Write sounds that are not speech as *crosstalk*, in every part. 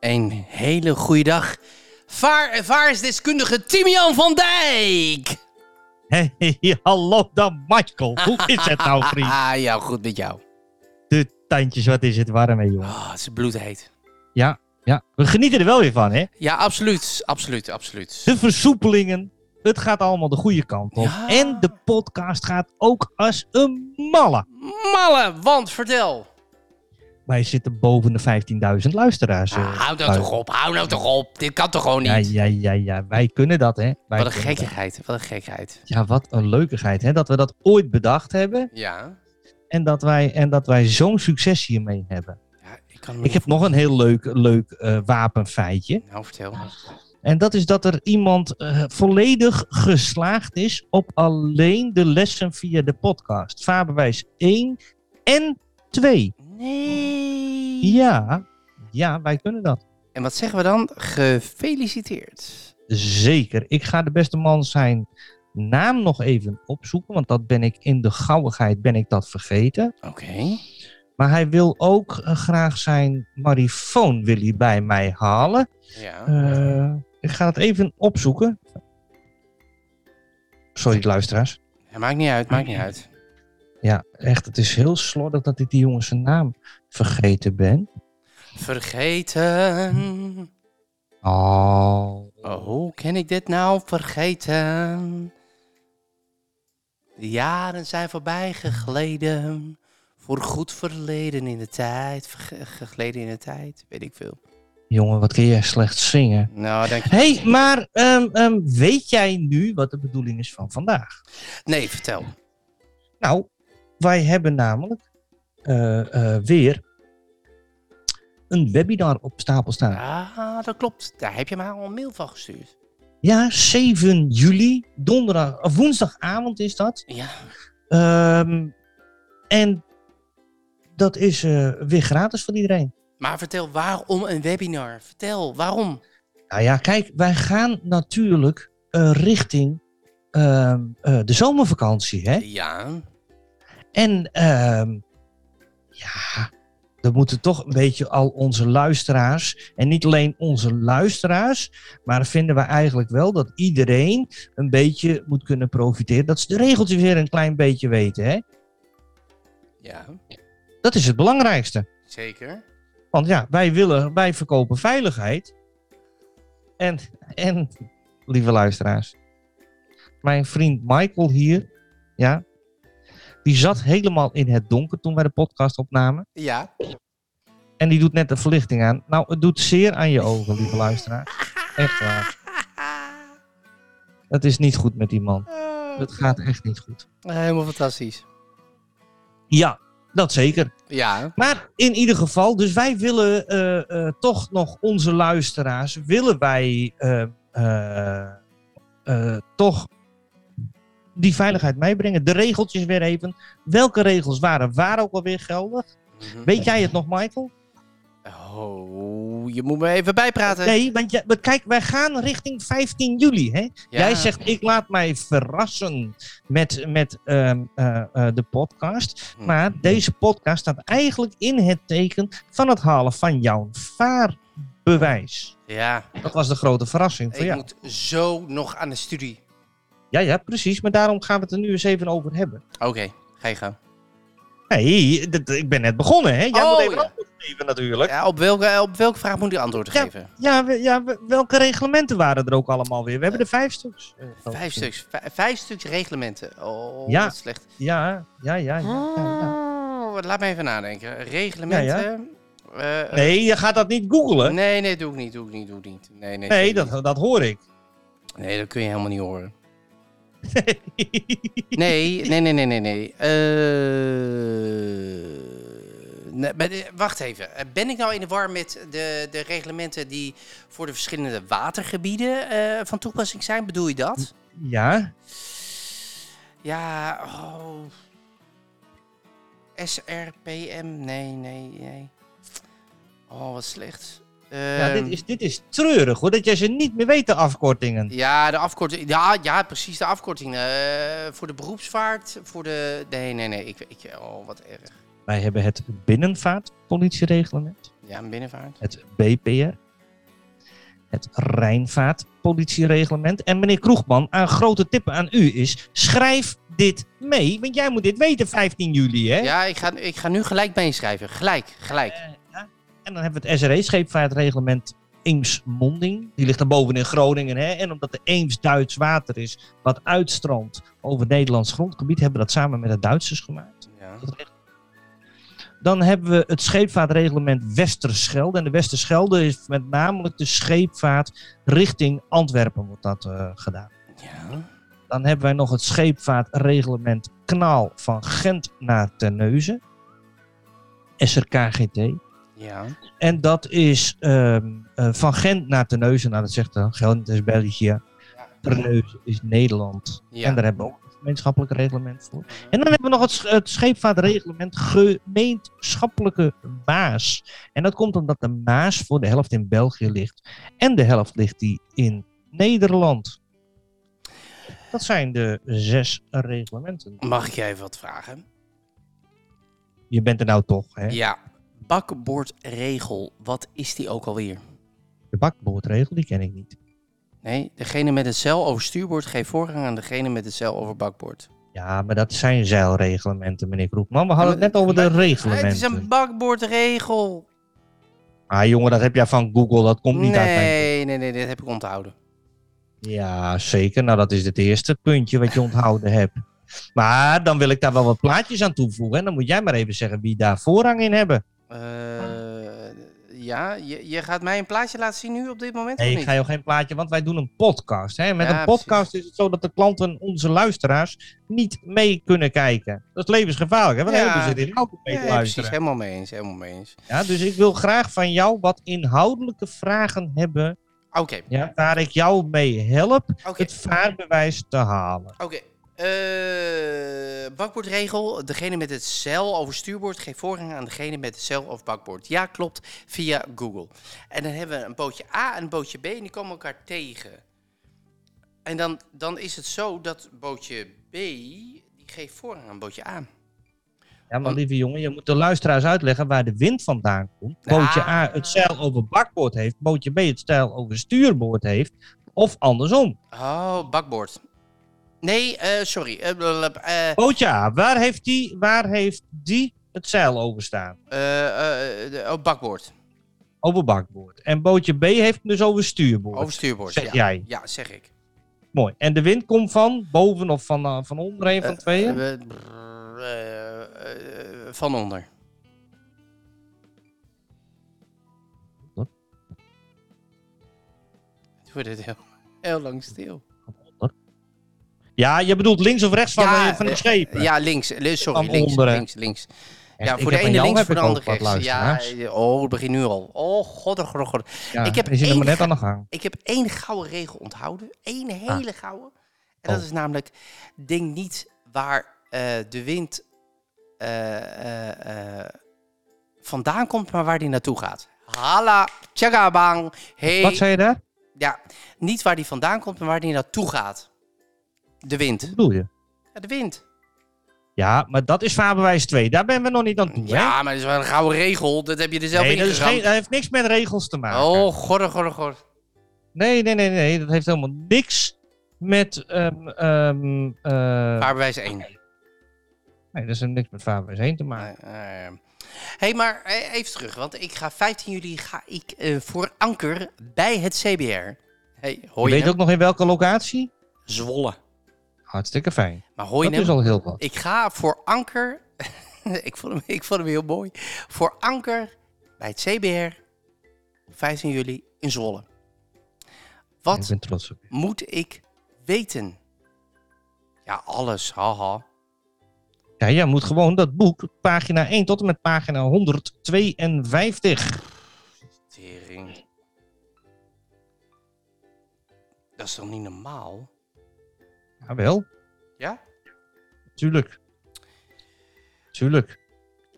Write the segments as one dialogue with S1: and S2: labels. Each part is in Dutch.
S1: Een hele goede dag. Vaarervaringsdeskundige Timian van Dijk.
S2: Hey, *laughs* hallo dan, Michael. Hoe is het nou,
S1: *laughs*
S2: vriend?
S1: Ah, ja, goed met jou.
S2: De tandjes, wat is het warm, hè, jongen.
S1: Ah, het is bloedheet.
S2: Ja, ja. We genieten er wel weer van, hè?
S1: Ja, absoluut. Absoluut, absoluut.
S2: De versoepelingen. Het gaat allemaal de goede kant op.
S1: Ja.
S2: En de podcast gaat ook als een malle.
S1: Malle, want vertel.
S2: Wij zitten boven de 15.000 luisteraars. eh,
S1: Ah, hou nou
S2: luister-
S1: toch op, hou nou toch op. Dit kan toch gewoon
S2: Ja,
S1: niet.
S2: ja, ja, ja. Wij kunnen dat, hè? Wij
S1: Wat een
S2: kunnen dat.
S1: gekkigheid, wat een gekheid.
S2: Ja, wat een leukigheid, hè? Dat we dat ooit bedacht hebben.
S1: Ja.
S2: En dat wij, en dat wij zo'n succes hiermee hebben.
S1: ja ik kan
S2: Ik heb nog een heel leuk, leuk eh, wapenfeitje.
S1: Nou, vertel.
S2: En dat is dat er iemand eh, volledig geslaagd is op alleen de lessen via de podcast. Vaarbewijs 1 en 2.
S1: Nee.
S2: Ja, ja, wij kunnen dat.
S1: En wat zeggen we dan? Gefeliciteerd.
S2: Zeker. Ik ga de beste man zijn naam nog even opzoeken, want dat ben ik in de gauwigheid ben ik dat vergeten.
S1: Oké.
S2: Maar hij wil ook eh, graag zijn marifoon wil hij bij mij halen.
S1: Ja.
S2: Eh, ik ga het even opzoeken. Sorry, luisteraars.
S1: Ja, maakt niet uit, maakt niet uit.
S2: Ja, echt. Het is heel slordig dat ik die jongen zijn naam vergeten ben.
S1: Vergeten.
S2: Oh.
S1: Oh, hoe ken ik dit nou vergeten? De jaren zijn voorbij gegleden. Voor goed verleden in de tijd. Verge- gegleden in de tijd, weet ik veel.
S2: Jongen, wat kun jij slecht zingen.
S1: Nou, dank je.
S2: Hé, hey, maar ehm, ehm, weet jij nu wat de bedoeling is van vandaag?
S1: Nee, vertel.
S2: Nou, wij hebben namelijk eh, eh, weer een webinar op stapel staan.
S1: Ah, dat klopt. Daar heb je me al een mail van gestuurd.
S2: Ja, 7 juli, donderdag, of woensdagavond is dat.
S1: Ja.
S2: Ehm, en dat is eh, weer gratis voor iedereen.
S1: Maar vertel, waarom een webinar? Vertel, waarom?
S2: Nou ja, kijk, wij gaan natuurlijk eh, richting ehm, eh, de zomervakantie. Hè?
S1: Ja.
S2: En ehm, ja, dan moeten toch een beetje al onze luisteraars. En niet alleen onze luisteraars, maar vinden we eigenlijk wel dat iedereen een beetje moet kunnen profiteren. Dat ze de regeltjes weer een klein beetje weten. Hè?
S1: Ja,
S2: Dat is het belangrijkste.
S1: zeker.
S2: Want ja, wij willen, wij verkopen veiligheid. En, en, lieve luisteraars, mijn vriend Michael hier, ja, die zat helemaal in het donker toen wij de podcast opnamen.
S1: Ja.
S2: En die doet net de verlichting aan. Nou, het doet zeer aan je ogen, lieve luisteraars.
S1: *laughs*
S2: Echt waar. Het is niet goed met die man. Het gaat echt niet goed.
S1: Oh. Helemaal fantastisch.
S2: Ja, dat zeker.
S1: Ja.
S2: Maar in ieder geval, dus wij willen eh, eh, toch nog onze luisteraars, willen wij eh, eh, eh, toch die veiligheid meebrengen. De regeltjes weer even. Welke regels waren waar ook alweer geldig?
S1: Mhm.
S2: Weet jij het nog, Michael?
S1: Oh, je moet me even bijpraten.
S2: Nee, want jij- want kijk, wij gaan richting 15 juli. Hè?
S1: Ja.
S2: Jij zegt, ik laat mij verrassen met, met ehm, eh, eh, de podcast.
S1: Hm.
S2: Maar deze podcast staat eigenlijk in het teken van het halen van jouw vaarbewijs.
S1: Ja,
S2: Dat was de grote verrassing voor
S1: ik
S2: jou.
S1: moet zo nog aan de studie.
S2: Ja, ja, precies. Maar daarom gaan we het er nu eens even over hebben.
S1: Oké, ga je gaan.
S2: hey, dat- ik ben net begonnen, hè? Jij
S1: Oh,
S2: moet even
S1: ja.
S2: antwoord geven natuurlijk.
S1: Ja, op, welke, op welke vraag moet ik antwoord geven?
S2: Ja, we- ja, we- welke reglementen waren er ook allemaal weer? We hebben er vijf stuks. eh, geloof ik.
S1: Vijf stuks. Vij- vijf stuks reglementen. Oh,
S2: Ja.
S1: wat slecht.
S2: Ja, ja, ja. ja, ja, ja.
S1: Oh, laat me even nadenken. Reglementen. eh,
S2: Nee, je gaat dat niet googlen.
S1: nee, nee, doe ik niet. Doe ik niet. Doe ik niet. Nee, nee,
S2: Nee,
S1: doe ik
S2: dat, dat hoor
S1: niet.
S2: ik.
S1: nee, dat kun je helemaal niet horen. Nee, nee, nee, nee, nee. nee. Eh, Nee, maar, eh, wacht even. Eh, Ben ik nou in de war met de, de reglementen die voor de verschillende watergebieden eh, van toepassing zijn? Bedoel je dat?
S2: *laughs* Ja,
S1: Ja, oh. SRPM? Nee, nee, nee. Oh, wat slecht.
S2: ja
S1: Ehm,
S2: dit, is, dit is treurig hoor, dat jij ze niet meer weet, de afkortingen.
S1: Ja, de afkorting. Ja, ja precies, de afkorting. eh, voor de beroepsvaart, voor de... Nee, nee, nee. Ik, ik, oh, wat erg.
S2: Wij hebben het binnenvaartpolitiereglement,
S1: Ja, een binnenvaart.
S2: het BPR, het Rijnvaartpolitiereglement. En meneer Kroegman, een grote tip aan u is, schrijf dit mee, want jij moet dit weten 15 juli hè.
S1: Ja, ik ga, ik ga nu gelijk meeschrijven. Gelijk, gelijk.
S2: Eh, En dan hebben we het SRE, scheepvaartreglement Eems-Monding. Die ligt dan boven in Groningen. Hè? En omdat de Eems Duits water is, wat uitstroomt over Nederlands grondgebied, hebben we dat samen met de Duitsers gemaakt.
S1: Ja.
S2: Dat regel- Dan hebben we het scheepvaartreglement Westerschelde. En de Westerschelde is met namelijk de scheepvaart richting Antwerpen wordt dat eh, gedaan.
S1: ja.
S2: Dan hebben wij nog het scheepvaartreglement Knaal van Gent naar Terneuzen. SRKGT.
S1: Ja.
S2: En dat is ehm, eh, van Gent naar Terneuzen. Nou, dat zegt dan Gent is België. Terneuzen is Nederland.
S1: Ja.
S2: En daar hebben we ook een gemeenschappelijk reglement voor. En dan hebben we nog het, sch- het scheepvaartreglement gemeenschappelijke Maas. En dat komt omdat de Maas voor de helft in België ligt. En de helft ligt die in Nederland. Dat zijn de zes reglementen.
S1: Mag ik je even wat vragen?
S2: Je bent er nou toch, hè?
S1: Ja. Bakbordregel, wat is die ook alweer?
S2: De bakboordregel, die ken ik niet.
S1: Nee, degene met het zeil over stuurboord geeft voorrang aan degene met het zeil over bakboord.
S2: Ja, maar dat zijn zeilreglementen, meneer Kroekman. We hadden het net over de
S1: Het
S2: reglementen.
S1: is een bakbordregel.
S2: Ah, jongen, dat heb jij van Google. Dat komt niet uit mijn...
S1: Nee, nee, nee, dit heb ik onthouden.
S2: Ja, zeker. Nou, dat is het eerste puntje wat je onthouden hebt. Maar dan wil ik daar wel wat plaatjes aan toevoegen. En dan moet jij maar even zeggen wie daar voorrang in hebben.
S1: Eh, ja, je, je gaat mij een plaatje laten zien nu op dit moment?
S2: Nee,
S1: of
S2: ik
S1: niet?
S2: ga jou geen plaatje, want wij doen een podcast. Hè? Met
S1: Ja,
S2: een podcast is het zo dat de klanten, onze luisteraars, niet mee kunnen kijken. Dat is levensgevaarlijk, hè? Want
S1: Ja.
S2: heel veel zitten in de auto mee te
S1: Nee, precies,
S2: luisteren.
S1: helemaal mee eens, helemaal mee eens.
S2: Ja, dus ik wil graag van jou wat inhoudelijke vragen hebben.
S1: Oké,
S2: Ja, waar ik jou mee help
S1: oké,
S2: het vaarbewijs te halen.
S1: oké. Eh, bakbordregel, degene met het zeil over stuurboord geeft voorrang aan degene met het zeil over bakboord. Ja, klopt, via Google. En dan hebben we een bootje A en een bootje B en die komen elkaar tegen. En dan, dan is het zo dat bootje B, die geeft voorrang aan bootje A.
S2: Ja, maar
S1: Want-
S2: lieve jongen, je moet de luisteraars uitleggen waar de wind vandaan komt. Bootje
S1: Ah.
S2: A het zeil over bakboord heeft, bootje B het zeil over stuurboord heeft, of andersom.
S1: Oh, bakboord. Nee, eh, sorry. Eh, blablab, eh,
S2: Bootje A, waar heeft die, waar heeft die het zeil over staan?
S1: Eh, eh, de- oh, bakboord.
S2: Over bakboord. En bootje B heeft hem dus over stuurboord.
S1: Over stuurboord.
S2: Zeg
S1: ja.
S2: jij.
S1: Ja, zeg ik.
S2: Mooi. En de wind komt van boven of van, eh, van onder, een van
S1: Eh,
S2: tweeën?
S1: we- brrr, eh, eh, van onder.
S2: Wat?
S1: Het wordt het heel, heel lang stil.
S2: ja, je bedoelt links of rechts van,
S1: Ja,
S2: eh, van de
S1: eh,
S2: schepen.
S1: Ja, links. eh, Sorry,
S2: Van
S1: links,
S2: onderen.
S1: links, links.
S2: Echt,
S1: Ja,
S2: ik
S1: voor
S2: heb
S1: de
S2: aan
S1: ene
S2: jou
S1: links,
S2: heb
S1: voor de
S2: ik ook
S1: andere
S2: wat
S1: rechts. Ja,
S2: luisteraars.
S1: eh, oh, het begint nu al. Oh, god, god, god, god.
S2: Ja,
S1: ik heb
S2: je zit er
S1: één
S2: maar net
S1: ge-
S2: aan de gang.
S1: Ik heb één gouden regel onthouden. Eén hele gouden. En dat
S2: Ah. Oh.
S1: is namelijk: denk niet waar eh, de wind eh, eh, eh, vandaan komt, maar waar die naartoe gaat. Hala, tjagabang.
S2: Wat
S1: Hey.
S2: zei je daar?
S1: Ja, niet waar die vandaan komt, maar waar die naartoe gaat. De
S2: Wat
S1: wind.
S2: bedoel je?
S1: Ja, de wind.
S2: Ja, maar dat is vaarbewijs 2. Daar ben we nog niet aan toe. hè?
S1: Ja, maar dat is wel een gouden regel. Dat heb je er zelf
S2: nee,
S1: in
S2: dat, is geen, Ah, dat heeft niks met regels te maken.
S1: Oh, gorre, gorre, gorre.
S2: Nee, nee, nee, nee. Dat heeft helemaal niks met. ehm, ehm, eh,
S1: Vaarbewijs 1.
S2: nee, dat is niks met vaarbewijs 1 te maken.
S1: Nee, eh, hey, maar eh, even terug, want ik ga 15 juli ga ik eh, voor anker bij het CBR. Hey, hoor
S2: je
S1: je,
S2: weet
S1: hem?
S2: ook nog in welke locatie?
S1: Zwolle.
S2: Hartstikke fijn.
S1: Maar hoor je
S2: dat
S1: hem?
S2: is al heel wat.
S1: Ik ga voor anker. *laughs* ik, vond hem, ik vond hem heel mooi. Voor anker bij het CBR op 15 juli in Zwolle.
S2: Ik
S1: Wat
S2: ben trots op je.
S1: moet ik weten? Ja, alles. Haha.
S2: Ja, jij moet gewoon dat boek, pagina 1 tot en met pagina 152.
S1: Tering. Dat is toch niet normaal?
S2: Jawel,
S1: Ja?
S2: tuurlijk. Tuurlijk.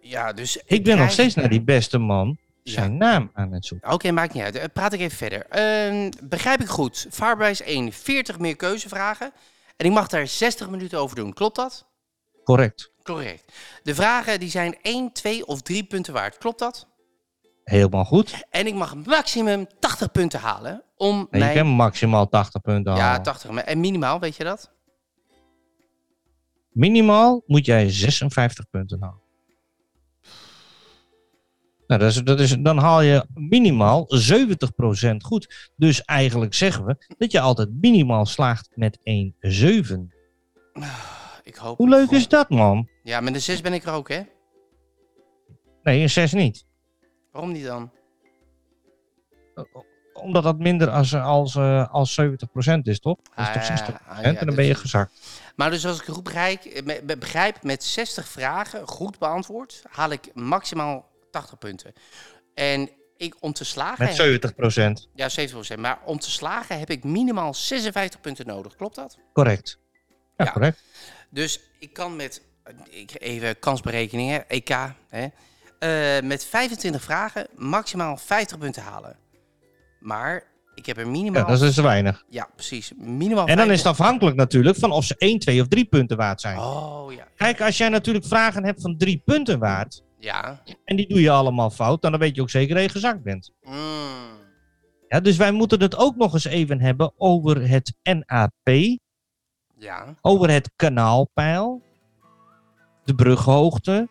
S1: Ja, dus...
S2: Ik ben nog
S1: krijg-
S2: steeds naar die beste man
S1: Ja.
S2: zijn naam aan het zoeken.
S1: Oké, maakt niet uit. Eh, Praat ik even verder. Ehm, begrijp ik goed. Vaarbewijs 1, 40 meer keuzevragen. En ik mag daar 60 minuten over doen. Klopt dat?
S2: Correct.
S1: Correct. De vragen die zijn 1, 2 of 3 punten waard. Klopt dat?
S2: Helemaal goed.
S1: En ik mag maximum 80 punten halen om
S2: Nee,
S1: mijn...
S2: Je kan maximaal 80 punten
S1: Ja,
S2: halen.
S1: 80. maar- En minimaal, weet je dat?
S2: Minimaal moet jij 56 punten halen. Nou, dat is, dat is, dan haal je minimaal 70% goed. Dus eigenlijk zeggen we dat je altijd minimaal slaagt met 1,7.
S1: Ik hoop
S2: Hoe leuk is dat, man?
S1: Ja, met een 6 ben ik er ook, hè?
S2: Nee, een 6 niet.
S1: Waarom niet dan?
S2: Omdat dat minder als, als, eh, als 70% is, toch? Dat is
S1: Ah,
S2: toch 60%?
S1: ah, ja,
S2: en dan
S1: dat
S2: ben je
S1: is-
S2: gezakt.
S1: Maar dus als ik goed begrijp, me- be- begrijp, met 60 vragen goed beantwoord, haal ik maximaal 80 punten. En ik, om te slagen...
S2: Met 70%.
S1: Ja, 70%. Maar om te slagen heb ik minimaal 56 punten nodig. Klopt dat?
S2: Correct. Ja,
S1: Ja.
S2: correct.
S1: Dus ik kan met, eh, ik, even kansberekeningen, EK, hè, Eh, met 25 vragen maximaal 50 punten halen. Maar ik heb er
S2: Ja,
S1: minimaal...
S2: dat is dus te weinig.
S1: ja, precies. Minimaal
S2: En dan is
S1: 50
S2: het afhankelijk natuurlijk van of ze 1, 2 of 3 punten waard zijn.
S1: Oh, ja.
S2: Kijk, als jij natuurlijk vragen hebt van drie punten waard.
S1: Ja.
S2: en die doe je allemaal fout. dan weet je ook zeker dat je gezakt bent.
S1: Mm.
S2: Ja, dus wij moeten het ook nog eens even hebben over het NAP.
S1: Ja.
S2: over het kanaalpeil. de brughoogte.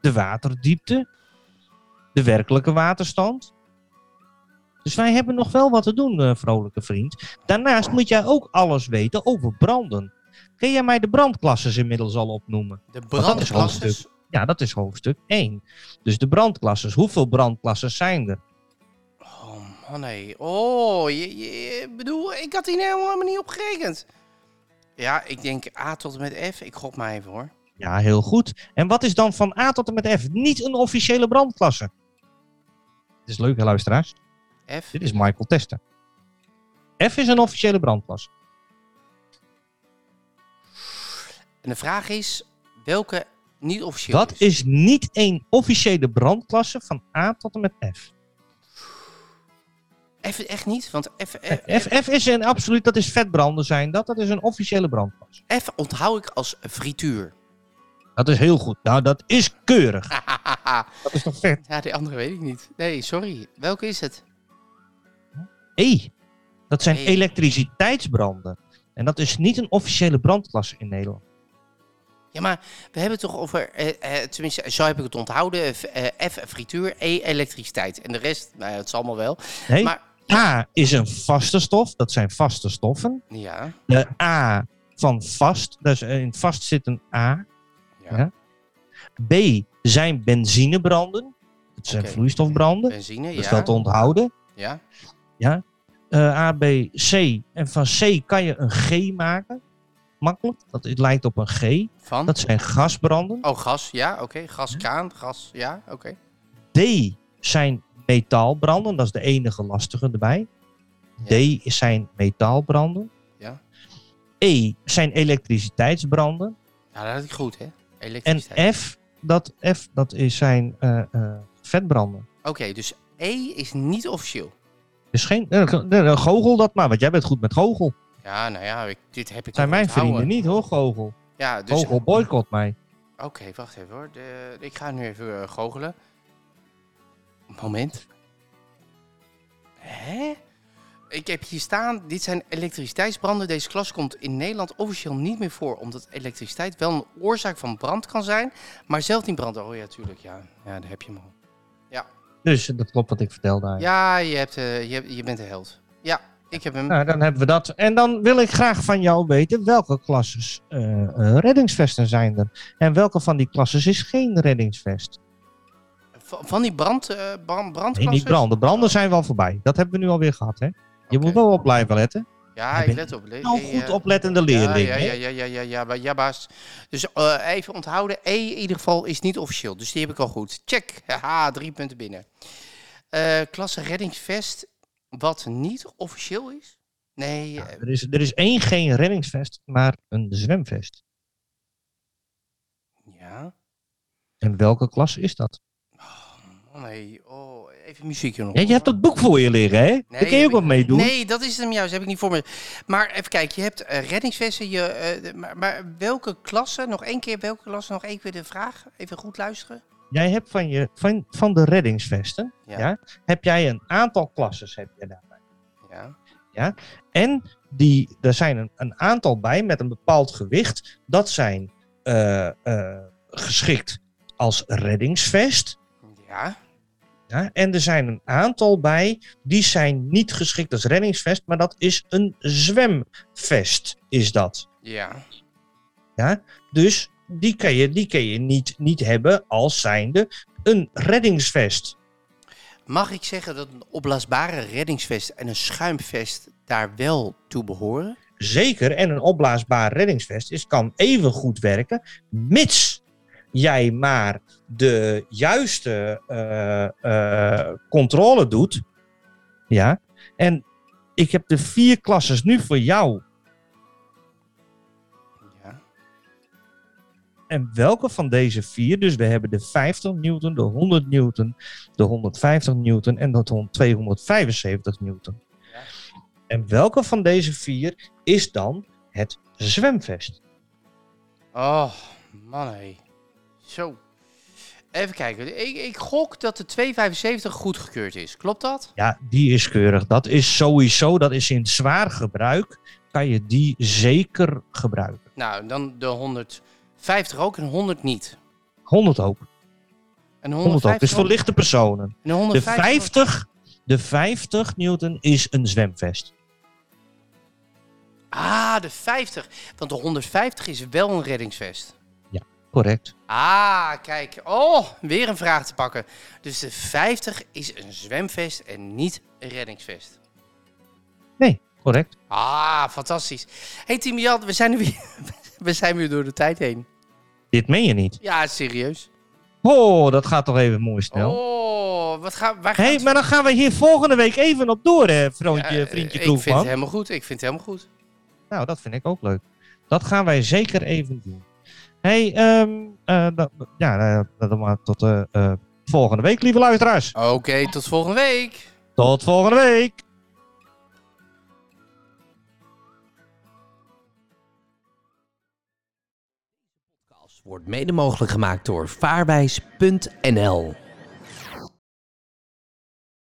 S2: de waterdiepte. de werkelijke waterstand. Dus wij hebben nog wel wat te doen, eh, vrolijke vriend. Daarnaast moet jij ook alles weten over branden. Kun jij mij de brandklasses inmiddels al opnoemen?
S1: De
S2: dat is
S1: brandklasses.
S2: Ja, dat is hoofdstuk 1. Dus de brandklasses. Hoeveel brandklasses zijn er?
S1: Oh, man, hé. Oh, je, je, je- bedoel, ik had hier nou helemaal niet op gerekend. Ja, ik denk A tot en met F. Ik gok maar even, hoor.
S2: Ja, heel goed. En wat is dan van A tot en met F niet een officiële brandklasse? Dit is leuk, hè, luisteraars.
S1: F.
S2: Dit is Michael Testen. F is een officiële brandklasse.
S1: En de vraag is, welke niet officieel
S2: Dat is niet een officiële brandklasse van A tot en met F.
S1: F echt niet, want F, F,
S2: Eh, F, F is een absoluut, dat is vetbranden zijn. Dat, dat is een officiële brandklasse.
S1: F onthoud ik als frituur. *laughs*
S2: Dat is heel goed. Nou, dat is keurig. Dat is toch vet?
S1: ja, die andere weet ik niet. Nee, sorry. Welke is het?
S2: E. Dat zijn
S1: E.
S2: elektriciteitsbranden. En dat is niet een officiële brandklasse in Nederland.
S1: Ja, maar we hebben het toch over, eh, eh, tenminste, zo heb ik het onthouden. F, eh, F frituur, E elektriciteit. En de rest, nou ja, het zal allemaal wel.
S2: Nee,
S1: Maar-
S2: A is een vaste stof. Dat zijn vaste stoffen.
S1: Ja.
S2: De A van vast. Dus in vast zit een A.
S1: ja.
S2: Ja. B zijn benzinebranden. Dat zijn
S1: Oké.
S2: vloeistofbranden.
S1: Benzine,
S2: Dus
S1: ja.
S2: dat te onthouden.
S1: ja.
S2: Eh, A, B, C. En van C kan je een G maken. Makkelijk. Dat het lijkt op een G.
S1: Van?
S2: Dat Hm? zijn gasbranden.
S1: Oh, gas, ja, oké. Gaskraan, gas, ja, oké.
S2: D zijn metaalbranden. Dat is de enige lastige erbij. D zijn metaalbranden.
S1: Ja.
S2: E zijn elektriciteitsbranden.
S1: Ja, dat had ik goed, hè.
S2: En
S1: Elektriciteit.
S2: F, dat, F, dat is zijn eh, eh, vetbranden.
S1: Oké, dus E is niet officieel.
S2: Dus geen, eh, eh, eh, goochel dat maar, want jij bent goed met goochel.
S1: Ja, nou ja, ik, dit heb ik
S2: Zijn
S1: ook
S2: mijn
S1: onthouden.
S2: vrienden niet Oh, hoor, goochel.
S1: Ja, dus...
S2: Goochel boycott mij.
S1: Oké, wacht even hoor. De- ik ga nu even eh, goochelen. Moment. Hè? Ik heb hier staan, dit zijn elektriciteitsbranden. Deze klas komt in Nederland officieel niet meer voor, omdat elektriciteit wel een oorzaak van brand kan zijn, maar zelf niet brand. Oh ja, tuurlijk, ja. Ja, daar heb je hem al.
S2: Dus dat klopt wat ik vertelde. eigenlijk.
S1: Ja, je, hebt, eh, je, hebt- je bent de held. Ja, ik heb hem.
S2: Nou, dan hebben we dat. En dan wil ik graag van jou weten welke klasses eh, eh, reddingsvesten zijn er. En welke van die klasses is geen reddingsvest.
S1: Van, van die brand, eh brand
S2: Nee, niet
S1: brandklasses?
S2: branden. Branden zijn wel voorbij. Dat hebben we nu alweer gehad, hè? Je
S1: Oké.
S2: moet wel op blijven letten. Hij
S1: Ja, ik
S2: bent
S1: let op. Le-
S2: Nou,
S1: eh,
S2: goed
S1: eh,
S2: oplettende leerling.
S1: Ja,
S2: hè?
S1: ja, ja, ja, ja, ja, maar- ja, baas. Dus eh, even onthouden. E in ieder geval is niet officieel. Dus die heb ik al goed. Check. *laughs* Haha, drie punten binnen. Eh, klasse reddingsvest. Wat niet officieel is? Nee. eh,
S2: Er, is, er is één geen reddingsvest, maar een zwemvest.
S1: ja.
S2: En welke klas is dat?
S1: Oh, nee. Oh, even muziekje nog.
S2: Ja, je hebt dat boek voor je liggen, hè? Daar kun je
S1: heb
S2: ook wat
S1: ik-
S2: mee doen.
S1: Nee, dat is hem juist. Heb ik niet voor me. Maar even kijken. Je hebt eh, reddingsvesten. Je, eh, de- maar, maar welke klasse? Nog één keer. Welke klasse? Nog één keer de vraag. Even goed luisteren.
S2: Jij hebt van, je, van, van de reddingsvesten,
S1: Ja.
S2: ja. heb jij een aantal klasses heb je daarbij.
S1: Ja.
S2: En die, er zijn een, een aantal bij met een bepaald gewicht. Dat zijn eh, eh, geschikt als reddingsvest.
S1: Ja.
S2: Ja? En er zijn een aantal bij, die zijn niet geschikt als reddingsvest, maar dat is een zwemvest, is dat.
S1: Ja.
S2: Dus die kan je, die kan je niet, niet hebben als zijnde een reddingsvest.
S1: Mag ik zeggen dat een opblaasbare reddingsvest en een schuimvest daar wel toe behoren?
S2: Zeker, en een opblaasbaar reddingsvest is, kan even goed werken, mits jij maar de juiste eh, eh, controle doet. Ja, en ik heb de vier klasses nu voor jou.
S1: Ja.
S2: En welke van deze vier, dus we hebben de 50 newton, de 100 newton, de 150 newton en de 275 newton.
S1: Ja.
S2: En welke van deze vier is dan het zwemvest?
S1: Oh, man hé. Zo. Even kijken. Ik, ik gok dat de 275 goedgekeurd is. Klopt dat?
S2: Ja, die is keurig. Dat is sowieso, dat is in zwaar gebruik, kan je die zeker gebruiken.
S1: Nou, dan de 150 ook en 100 niet.
S2: 100 ook,
S1: En
S2: 100 ook.
S1: 150
S2: Dus voor lichte personen.
S1: en
S2: De
S1: 150
S2: 50, de 50 newton is een zwemvest.
S1: Ah, de 50. Want de 150 is wel een reddingsvest.
S2: Correct.
S1: Ah, kijk. Oh, weer een vraag te pakken. Dus de 50 is een zwemvest en niet een reddingsvest.
S2: Correct.
S1: Ah, fantastisch. hey, Tim Jan, we zijn, er weer, *laughs* we zijn weer door de tijd heen.
S2: Dit meen je niet.
S1: Ja, serieus.
S2: Oh, dat gaat toch even mooi snel.
S1: Oh, wat gaan, waar
S2: Hé,
S1: gaan
S2: hey,
S1: we-
S2: maar dan gaan we hier volgende week even op door, hè, vriendje,
S1: Eh,
S2: vriendje
S1: Ik vind het
S2: Kroegman.
S1: helemaal goed, ik vind het helemaal goed.
S2: Nou, dat vind ik ook leuk. Dat gaan wij zeker even doen. Hé, hey, ehm, nou, ja, eh, dan maar tot eh, eh, volgende week, lieve luisteraars.
S1: Oké, tot volgende week.
S2: Tot volgende week.
S3: podcast wordt mede mogelijk gemaakt door vaarwijs.nl.